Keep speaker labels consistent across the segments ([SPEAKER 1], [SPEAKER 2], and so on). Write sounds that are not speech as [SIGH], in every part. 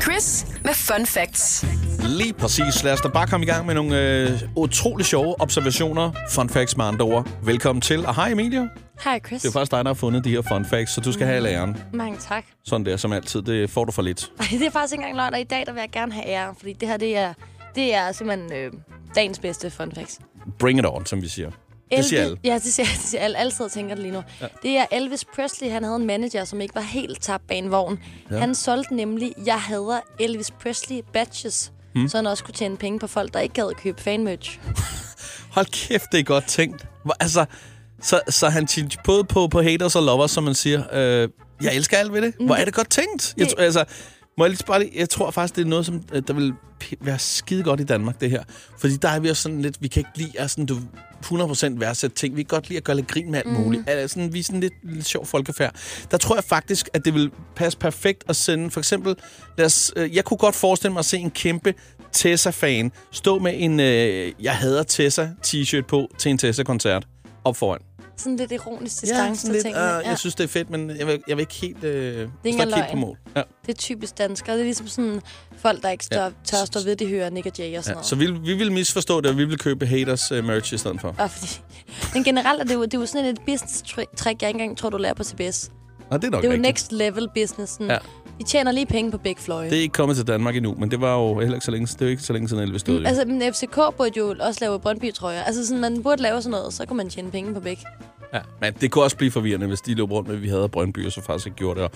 [SPEAKER 1] Quiz med fun facts.
[SPEAKER 2] Lige præcis. Lad os da bare komme i gang med nogle øh, utrolig sjove observationer. Fun facts med andre ord. Velkommen til. Og hej Emilie. Det
[SPEAKER 3] Hej Chris.
[SPEAKER 2] er faktisk dig, der har fundet de her fun facts, så du skal have læreren.
[SPEAKER 3] Mange tak. [LAUGHS]
[SPEAKER 2] Sådan der, som altid. Det får du for lidt.
[SPEAKER 3] Ej, det er faktisk ikke engang løgn, og i dag der vil jeg gerne have ære, fordi det her det er, det er simpelthen øh, dagens bedste fun facts.
[SPEAKER 2] Bring it on, som vi siger. Det siger alle.
[SPEAKER 3] Ja, det siger, [LAUGHS] det siger alle. Alle sidder og tænker det lige nu. Ja. Det er Elvis Presley, han havde en manager, som ikke var helt tabt bag en vogn. Ja. Han solgte nemlig, jeg hader Elvis Presley badges, hmm. så han også kunne tjene penge på folk, der ikke gad at købe fanmerch.
[SPEAKER 2] Hold kæft, det er godt tænkt. Hvor- Altså, så, så han tjente både på, på haters og lovers, som man siger. Øh, jeg elsker alt ved det. Hvor er Mm. det godt tænkt? Jeg, tr- altså, må jeg, lige bare lige, jeg tror faktisk, det er noget, som øh, der vil p- være skide godt i Danmark, det her. Fordi der er vi også sådan lidt, vi kan ikke lide at sådan, du, 100% værdsætte ting. Vi kan godt lide at gøre lidt grin med alt mm. muligt. Altså, sådan, vi er sådan lidt, lidt sjov folkefærd. Der tror jeg faktisk, at det vil passe perfekt at sende, for eksempel, lad os, øh, jeg kunne godt forestille mig at se en kæmpe Tessa-fan stå med en øh, Jeg hader Tessa-t-shirt på til en Tessa-koncert op foran.
[SPEAKER 3] Sådan lidt ironisk distance
[SPEAKER 2] sådan
[SPEAKER 3] til
[SPEAKER 2] lidt,
[SPEAKER 3] tingene.
[SPEAKER 2] øh, jeg synes, det er fedt, men jeg vil, jeg vil ikke helt... Øh, det
[SPEAKER 3] ikke
[SPEAKER 2] helt på
[SPEAKER 3] løgn.
[SPEAKER 2] mål. Ja.
[SPEAKER 3] Det er typisk danskere. Det er ligesom sådan folk, der ikke står,
[SPEAKER 2] Ja.
[SPEAKER 3] ja. tør at stå ved, de hører Nick og Jay og sådan
[SPEAKER 2] Ja,
[SPEAKER 3] noget.
[SPEAKER 2] så vi, vi vil misforstå det, og vi vil købe haters øh, merch i stedet for.
[SPEAKER 3] Og fordi, men generelt er det jo, det er jo sådan et business-trick, jeg ikke engang tror, du lærer på CBS.
[SPEAKER 2] Og det er nok
[SPEAKER 3] Det er jo
[SPEAKER 2] rigtigt.
[SPEAKER 3] next level businessen.
[SPEAKER 2] Ja.
[SPEAKER 3] Ja. I tjener lige penge på begge fløje.
[SPEAKER 2] Det er ikke kommet til Danmark endnu, men det var jo heller ikke så længe, det er jo ikke så længe siden Elvis døde. jo.
[SPEAKER 3] Altså, men FCK burde jo også lave Brøndby-trøjer. Altså, sådan, man burde lave sådan noget, så kunne man tjene penge på begge.
[SPEAKER 2] Ja. Men det kunne også blive forvirrende, hvis de løb rundt med, at vi havde Brøndby, og så faktisk ikke gjorde det. Og,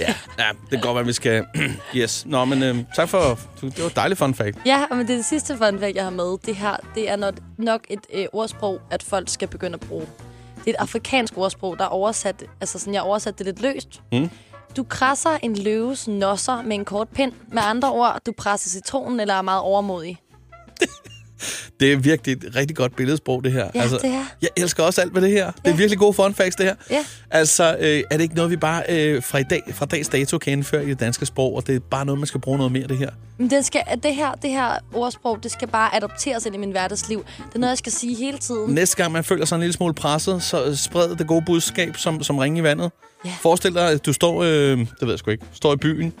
[SPEAKER 2] ja, ja, det kan godt være, vi skal... [CLEARS THROAT] yes. Nå, men øh, tak for... Det var et dejligt fun fact.
[SPEAKER 3] Ja, og men det, sidste fun fact, jeg har med, det her, det er nok, nok et øh, ordsprog, at folk skal begynde at bruge. Det er et afrikansk ordsprog, der er oversat, altså sådan, jeg har oversat det lidt løst. Mm. Du krasser en løves nosser med en kort pind. Med andre ord, du presser citronen eller er meget overmodig.
[SPEAKER 2] Det er virkelig et rigtig godt billedsprog, det her. Altså,
[SPEAKER 3] Ja, det er.
[SPEAKER 2] Jeg elsker også alt ved det her. Det er
[SPEAKER 3] Ja.
[SPEAKER 2] virkelig gode fun facts, det her.
[SPEAKER 3] Ja.
[SPEAKER 2] Altså, øh, er det ikke noget, vi bare øh, fra, i dag, fra dags dato kan indføre i det danske sprog, og det er bare noget, man skal bruge noget mere, det her?
[SPEAKER 3] Men den skal, at det, her, det her ordsprog, det skal bare adopteres ind i min hverdagsliv. Det er noget, jeg skal sige hele tiden.
[SPEAKER 2] Næste gang, man føler sig en lille smule presset, så øh, spred det gode budskab som, som ringe i vandet.
[SPEAKER 3] Ja.
[SPEAKER 2] Forestil dig, at du står, øh, det ved jeg sgu ikke, står i byen.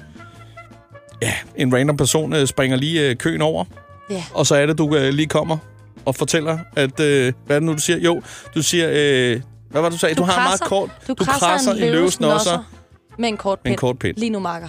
[SPEAKER 2] Ja, en random person øh, springer lige øh, køen over,
[SPEAKER 3] Ja.
[SPEAKER 2] og så er det, du øh, lige kommer og fortæller, at, øh, hvad er det nu, du siger? Jo, du siger, øh, hvad var det, du sagde? Du, har en meget kort,
[SPEAKER 3] du, krasser, en, løves nosser med en kort pind.
[SPEAKER 2] med en kort pind.
[SPEAKER 3] Lige nu, Marker.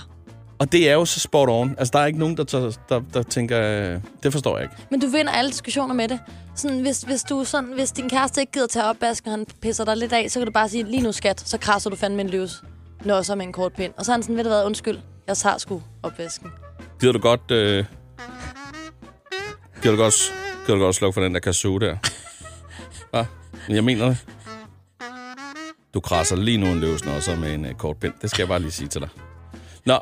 [SPEAKER 2] Og det er jo så spot on. Altså, der er ikke nogen, der, tager, der, der tænker, øh, det forstår jeg ikke.
[SPEAKER 3] Men du vinder alle diskussioner med det. Sådan, hvis, hvis, du er sådan, hvis din kæreste ikke gider tage opvasken, og han pisser dig lidt af, så kan du bare sige, lige nu skat, så krasser du fandme en løves nosser med en kort pind. Og så er han sådan, ved du hvad, undskyld, jeg tager sgu opvasken. [LAUGHS]
[SPEAKER 2] Gider du godt... Øh, gider, du godt gider du godt slukke for den der kazoo [LAUGHS] der? Hva? Men Jeg mener det. Du krasser lige nu en løsner også med en øh, kort pind. Det skal jeg bare lige sige til dig. Nå,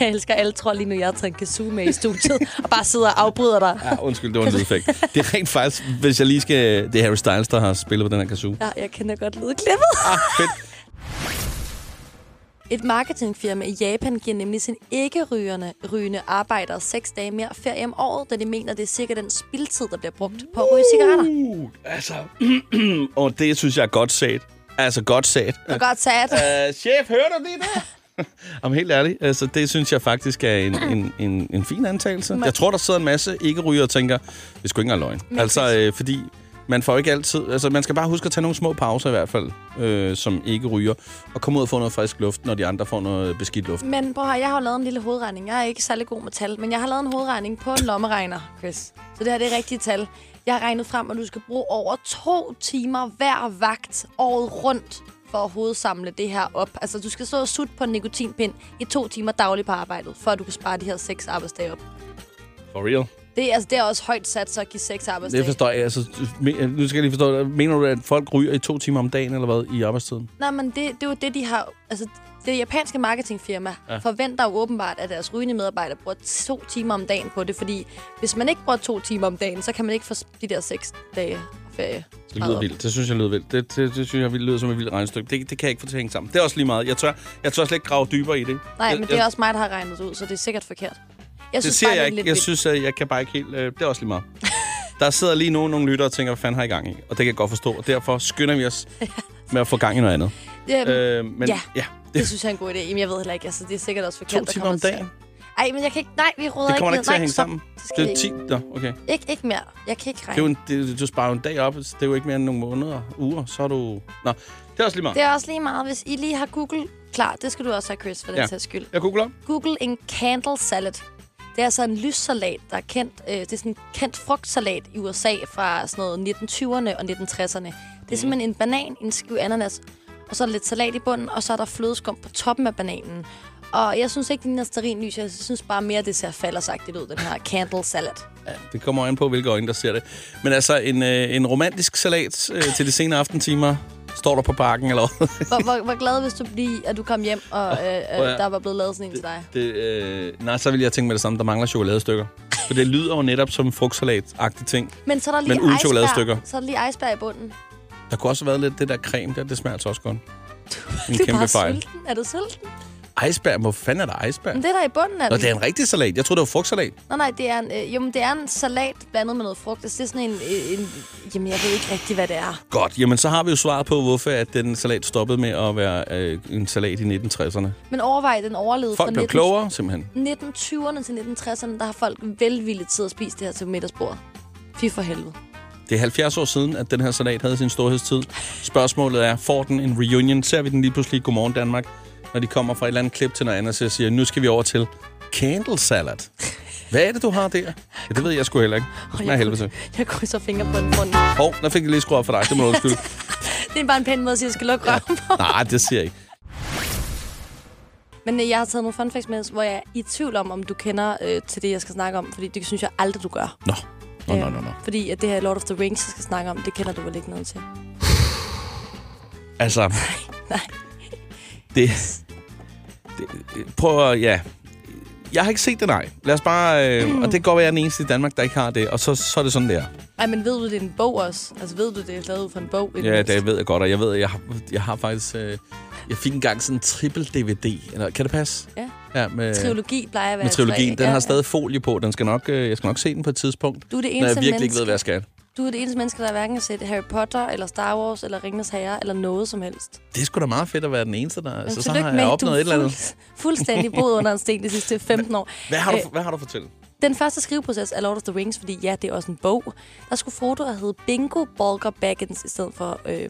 [SPEAKER 3] Jeg elsker alle tror lige nu, jeg tager en kazoo med i
[SPEAKER 2] [LAUGHS]
[SPEAKER 3] studiet, og bare sidder og afbryder dig.
[SPEAKER 2] ja, Ah, undskyld, det var en lydfægt. Det er rent faktisk, hvis jeg lige skal... Det er Harry Styles, der har spillet på den her kazoo.
[SPEAKER 3] Ja, jeg kender godt lydklippet.
[SPEAKER 2] Ah, fedt.
[SPEAKER 3] Et marketingfirma i Japan giver nemlig sin ikke-rygende rygende arbejdere seks dage mere ferie om året, da de mener, det er cirka den spildtid, der bliver brugt på at ryge cigaretter.
[SPEAKER 2] Uh, altså... [CLEARS THROAT] og det synes jeg er godt sat. Altså, godt sat.
[SPEAKER 3] Du godt sat.
[SPEAKER 2] Øh, chef, hører du det der? [LAUGHS] Om helt ærligt, altså, det synes jeg faktisk er en, en, en, en fin antagelse. Jeg tror, der sidder en masse ikke-ryger og tænker, det skulle ikke engang løgn. Altså, øh, fordi man får ikke altid... Altså, man skal bare huske at tage nogle små pauser i hvert fald, øh, som ikke ryger, og komme ud og få noget frisk luft, når de andre får noget beskidt luft.
[SPEAKER 3] Men prøv at høre, jeg har jo lavet en lille hovedregning. Jeg er ikke særlig god med tal, men jeg har lavet en hovedregning på en lommeregner, Chris. Så det her det er rigtige tal. Jeg har regnet frem, at du skal bruge over to timer hver vagt året rundt for at hovedsamle det her op. Altså, du skal stå og sutte på en nikotinpind i to timer dagligt på arbejdet, for at du kan spare de her seks arbejdsdage op.
[SPEAKER 2] For real?
[SPEAKER 3] Det, er- altså, det er også højt sat, så at give seks arbejdsdage.
[SPEAKER 2] Det forstår jeg. Altså, me- nu skal jeg lige forstå, mener du, at folk ryger i to timer om dagen, eller hvad, i arbejdstiden?
[SPEAKER 3] Nej, men det, det er jo det, de har... Altså, det japanske marketingfirma ja. forventer jo åbenbart, at deres rygende medarbejdere bruger to timer om dagen på det, fordi hvis man ikke bruger to timer om dagen, så kan man ikke få de der seks dage ferie.
[SPEAKER 2] Det lyder vildt. Det synes jeg lyder vildt. Det, det, det synes jeg lyder som et vildt regnestykke. Det, det kan jeg ikke få til at hænge sammen. Det er også lige meget. Jeg tør, jeg tør slet ikke grave dybere i det.
[SPEAKER 3] Nej,
[SPEAKER 2] jeg,
[SPEAKER 3] men det er
[SPEAKER 2] jeg,
[SPEAKER 3] også mig, der har regnet det ud, så det er sikkert forkert. Jeg
[SPEAKER 2] det
[SPEAKER 3] synes
[SPEAKER 2] siger
[SPEAKER 3] bare,
[SPEAKER 2] jeg
[SPEAKER 3] det er
[SPEAKER 2] ikke.
[SPEAKER 3] lidt
[SPEAKER 2] Jeg
[SPEAKER 3] vildt.
[SPEAKER 2] synes, at jeg kan bare ikke helt... Øh, det er også lige meget. Der sidder lige nu nogle lyttere og tænker, hvad fanden har I gang i? Og det kan jeg godt forstå. Og derfor skynder vi
[SPEAKER 3] [LAUGHS]
[SPEAKER 2] os med at få gang i noget andet.
[SPEAKER 3] Øhm,
[SPEAKER 2] Øh, men ja.
[SPEAKER 3] ja.
[SPEAKER 2] ja.
[SPEAKER 3] Det synes jeg er en god idé. Jamen, jeg ved heller ikke. Altså, det er sikkert også forkert.
[SPEAKER 2] To
[SPEAKER 3] der
[SPEAKER 2] timer
[SPEAKER 3] kommer
[SPEAKER 2] om
[SPEAKER 3] til-
[SPEAKER 2] dagen?
[SPEAKER 3] Ej, men jeg kan ikke... Nej, vi råder
[SPEAKER 2] Det kommer da
[SPEAKER 3] ikke
[SPEAKER 2] ikke til at hænge
[SPEAKER 3] ned.
[SPEAKER 2] sammen.
[SPEAKER 3] Nej, stop. skal
[SPEAKER 2] Det
[SPEAKER 3] vi
[SPEAKER 2] er 10. Nå, okay.
[SPEAKER 3] ikke. Ikke, ikke mere. Jeg kan ikke
[SPEAKER 2] Det er jo
[SPEAKER 3] regne.
[SPEAKER 2] en, det, du sparer jo en dag op. Det er jo ikke mere end nogle måneder, uger. Så er du... Nå, det er også lige meget.
[SPEAKER 3] Det er også lige meget, hvis I lige har Google klar. Det skal du også have, Chris, for den
[SPEAKER 2] Ja.
[SPEAKER 3] ja. sags skyld.
[SPEAKER 2] Jeg googler.
[SPEAKER 3] Google en candle salad. Det er altså en lyssalat, der er kendt. Øh, det er sådan en kendt frugtsalat i USA fra sådan noget 1920'erne og 1960'erne. Det
[SPEAKER 2] Mhm.
[SPEAKER 3] er simpelthen en banan, en skive ananas, og så er der lidt salat i bunden, og så er der flødeskum på toppen af bananen. Og jeg synes ikke, den er stearinlys. Jeg synes bare mere, det ser faldersagtigt ud, den her candle salad.
[SPEAKER 2] Ja, det kommer an på, hvilke øjne, der ser det. Men altså, en, øh, en romantisk salat øh, til de senere aftentimer. Står der på parken, eller hvad?
[SPEAKER 3] Hvor, hvor, hvor glad hvis du blive, at du kom hjem, og øh, øh,
[SPEAKER 2] ja.
[SPEAKER 3] der var blevet lavet sådan en til dig.
[SPEAKER 2] [LAUGHS] Det, øh, nej, så vil jeg tænke med det samme. Der mangler chokoladestykker. For det lyder jo netop som frugtsalat-agtig ting.
[SPEAKER 3] Men så er der
[SPEAKER 2] Men
[SPEAKER 3] lige
[SPEAKER 2] uden chokoladestykker.
[SPEAKER 3] iceberg. Så er der lige iceberg i bunden.
[SPEAKER 2] Der kunne også have været lidt det der creme der. Det smager altså også
[SPEAKER 3] [LAUGHS]
[SPEAKER 2] godt. En
[SPEAKER 3] Du er
[SPEAKER 2] kæmpe
[SPEAKER 3] bare
[SPEAKER 2] fejl.
[SPEAKER 3] sulten. Er du sulten?
[SPEAKER 2] Iceberg? Hvor fanden er der iceberg?
[SPEAKER 3] Men det er der i bunden af
[SPEAKER 2] Nå,
[SPEAKER 3] den.
[SPEAKER 2] det er en rigtig salat. Jeg troede, det var frugtsalat.
[SPEAKER 3] Nej, nej, det er en, øh, jo, men det er en salat blandet med noget frugt. Altså, det er sådan en, en, en... Jamen, jeg ved ikke rigtig, hvad det er.
[SPEAKER 2] Godt. Jamen, så har vi jo svaret på, hvorfor at den salat stoppede med at være øh, en salat i 1960'erne.
[SPEAKER 3] Men overvej, den overlevede
[SPEAKER 2] Folk
[SPEAKER 3] fra
[SPEAKER 2] blev klogere, simpelthen.
[SPEAKER 3] 1920'erne til 1960'erne. Der har folk velvilligt tid at spise det her til middagsbordet. Fy for helvede.
[SPEAKER 2] Det er 70 år siden, at den her salat havde sin storhedstid. Spørgsmålet er, får den en reunion? Ser vi den lige pludselig i Godmorgen Danmark, når de kommer fra et eller andet klip til noget andet, så jeg siger, nu skal vi over til candle salad. Hvad er det, du har der? Ja, det ved jeg sgu heller ikke. Det smager af helvede til.
[SPEAKER 3] Jeg krydser fingre på den bund.
[SPEAKER 2] Hov, der fik jeg lige skruet op for dig. [LAUGHS] Det må du undskylde.
[SPEAKER 3] Det er bare en pæn måde at sige, at jeg skal lukke røven på.
[SPEAKER 2] Nej, det siger jeg ikke.
[SPEAKER 3] Men øh, jeg har taget nogle fun facts med, hvor jeg er i tvivl om, om du kender øh, til det, jeg skal snakke om. Fordi det synes jeg aldrig, du gør.
[SPEAKER 2] Nå. Nå, nå, nå, nå.
[SPEAKER 3] Fordi at det her Lord of the Rings, jeg skal snakke om, det kender du vel ikke noget til.
[SPEAKER 2] Altså,
[SPEAKER 3] Nej.
[SPEAKER 2] det, det... Prøv at... Ja. Jeg har ikke set det, nej. Lad os bare... Øh, Og det kan godt være, at jeg er den eneste i Danmark, der ikke har det. Og så, så er det sådan, der.
[SPEAKER 3] Ej, men ved du, Mm. det er en bog også? Altså, ved du, det er lavet ud fra en bog? i
[SPEAKER 2] Ja,
[SPEAKER 3] mindste?
[SPEAKER 2] det ved jeg godt, og jeg ved, at jeg har, jeg har faktisk... Øh, jeg fik engang sådan en triple-DVD. Eller, kan det passe?
[SPEAKER 3] Ja.
[SPEAKER 2] ja med,
[SPEAKER 3] Trilogi plejer at være
[SPEAKER 2] med
[SPEAKER 3] tre,
[SPEAKER 2] trilogien.
[SPEAKER 3] ikke?
[SPEAKER 2] Den
[SPEAKER 3] Ja.
[SPEAKER 2] har stadig folie på. Den skal nok, øh, jeg skal nok se den på et tidspunkt,
[SPEAKER 3] Du er det
[SPEAKER 2] når
[SPEAKER 3] eneste
[SPEAKER 2] jeg virkelig
[SPEAKER 3] menneske,
[SPEAKER 2] ikke ved, hvad jeg skal.
[SPEAKER 3] Du er det eneste menneske, der hverken har set Harry Potter, eller Star Wars, eller Ringens Herre, eller noget som helst.
[SPEAKER 2] Det er sgu da meget fedt at være den eneste, der...
[SPEAKER 3] Men
[SPEAKER 2] Altså, så
[SPEAKER 3] tillykke
[SPEAKER 2] har
[SPEAKER 3] med,
[SPEAKER 2] jeg
[SPEAKER 3] at
[SPEAKER 2] opnået et eller andet.
[SPEAKER 3] fuld, fuldstændig boet under en sten de sidste 15 år.
[SPEAKER 2] Hvad har, du,
[SPEAKER 3] Øh,
[SPEAKER 2] hvad har du fortalt?
[SPEAKER 3] Den første skriveproces er Lord of the Rings, fordi ja, det er også en bog. Der skulle Frodo have heddet Bingo Bulger Baggins i stedet for øh,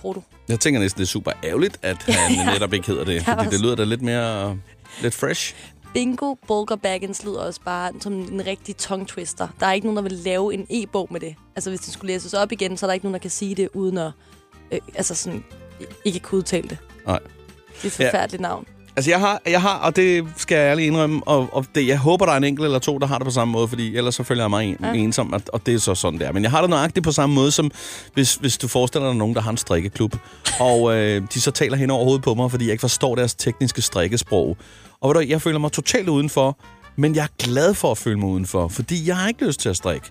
[SPEAKER 3] Frodo.
[SPEAKER 2] Jeg tænker næsten, det er super ærgerligt, at han netop ikke hedder det.
[SPEAKER 3] Jeg
[SPEAKER 2] Fordi
[SPEAKER 3] var
[SPEAKER 2] det
[SPEAKER 3] s-
[SPEAKER 2] lyder da lidt mere... Lidt fresh.
[SPEAKER 3] Bingo Bulger Baggins lyder også bare som en rigtig tongue twister. Der er ikke nogen, der vil lave en e-bog med det. Altså, hvis det skulle læses op igen, så er der ikke nogen, der kan sige det, uden at øh, altså sådan, ikke kunne udtale det.
[SPEAKER 2] Nej.
[SPEAKER 3] Det er et forfærdeligt ja. navn.
[SPEAKER 2] Altså, jeg har, jeg har, og det skal jeg ærligt indrømme, og, og det, jeg håber, der er en enkelt eller to, der har det på samme måde, fordi ellers så føler jeg mig en, ja. ensom, og, og det er så sådan, der. Men jeg har det nøjagtigt på samme måde, som hvis, hvis du forestiller dig nogen, der har en strikkeklub, og øh, de så taler hen over hovedet på mig, fordi jeg ikke forstår deres tekniske strikkesprog. Og ved du, hvad, jeg føler mig totalt udenfor, men jeg er glad for at føle mig udenfor, fordi jeg har ikke lyst til at strikke.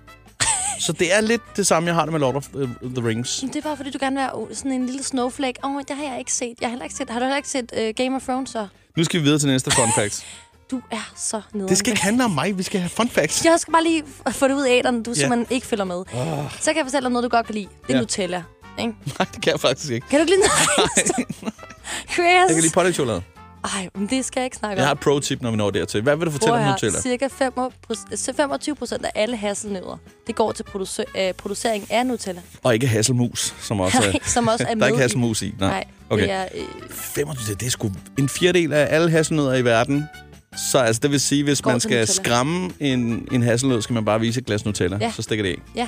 [SPEAKER 2] Så det er lidt det samme, jeg har det med Lord of øh, the Rings.
[SPEAKER 3] Det er bare, fordi du gerne vil være sådan en lille snowflake. Åh, oh, det har jeg ikke set. Jeg har heller ikke set. Har du heller ikke set uh, Game of Thrones, så?
[SPEAKER 2] Nu skal vi videre til næste fun fact.
[SPEAKER 3] Du er så nede.
[SPEAKER 2] Det skal ikke handle om mig, vi skal have fun
[SPEAKER 3] [LAUGHS]
[SPEAKER 2] facts.
[SPEAKER 3] Jeg skal bare lige f- få det ud af æderen,
[SPEAKER 2] Ja.
[SPEAKER 3] du
[SPEAKER 2] Ah.
[SPEAKER 3] yeah. simpelthen ikke følger med. Oh. Så kan jeg fortælle dig noget, du godt kan lide. Det er
[SPEAKER 2] Ja.
[SPEAKER 3] yeah. Nutella. Ikke?
[SPEAKER 2] Nej, det kan jeg faktisk ikke.
[SPEAKER 3] Kan
[SPEAKER 2] [LAUGHS]
[SPEAKER 3] du ikke lide noget? Chris!
[SPEAKER 2] Jeg kan lide pålægchokolade.
[SPEAKER 3] Ej, men det skal jeg ikke snakke
[SPEAKER 2] Jeg har
[SPEAKER 3] om.
[SPEAKER 2] et pro-tip, når vi når dertil. Hvad vil du fortælle om Nutella?
[SPEAKER 3] cirka 25 altså procent af alle hasselnødder, det går til producer, øh, producering af Nutella.
[SPEAKER 2] Og ikke hasselmus, som også er...
[SPEAKER 3] [LAUGHS] Nej, som også
[SPEAKER 2] [LAUGHS]
[SPEAKER 3] er
[SPEAKER 2] Der er
[SPEAKER 3] med
[SPEAKER 2] ikke
[SPEAKER 3] i-
[SPEAKER 2] hasselmus i, nej.
[SPEAKER 3] Nej,
[SPEAKER 2] okay.
[SPEAKER 3] det er... Øh,
[SPEAKER 2] 25, det er sgu en fjerdedel af alle hasselnødder i verden. Så altså, det vil sige, hvis
[SPEAKER 3] Går
[SPEAKER 2] man
[SPEAKER 3] til
[SPEAKER 2] skal
[SPEAKER 3] Nutella.
[SPEAKER 2] skræmme en, en hasselnød, skal man bare vise et glas Nutella.
[SPEAKER 3] Ja.
[SPEAKER 2] Så stikker det af.
[SPEAKER 3] ja,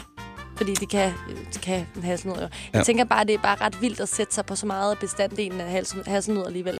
[SPEAKER 3] fordi det kan, øh, det kan en hasselnød jo. Jeg
[SPEAKER 2] Ja.
[SPEAKER 3] tænker bare, det er bare ret vildt at sætte sig på så meget af bestanddelen af hasselnød, hasselnød alligevel.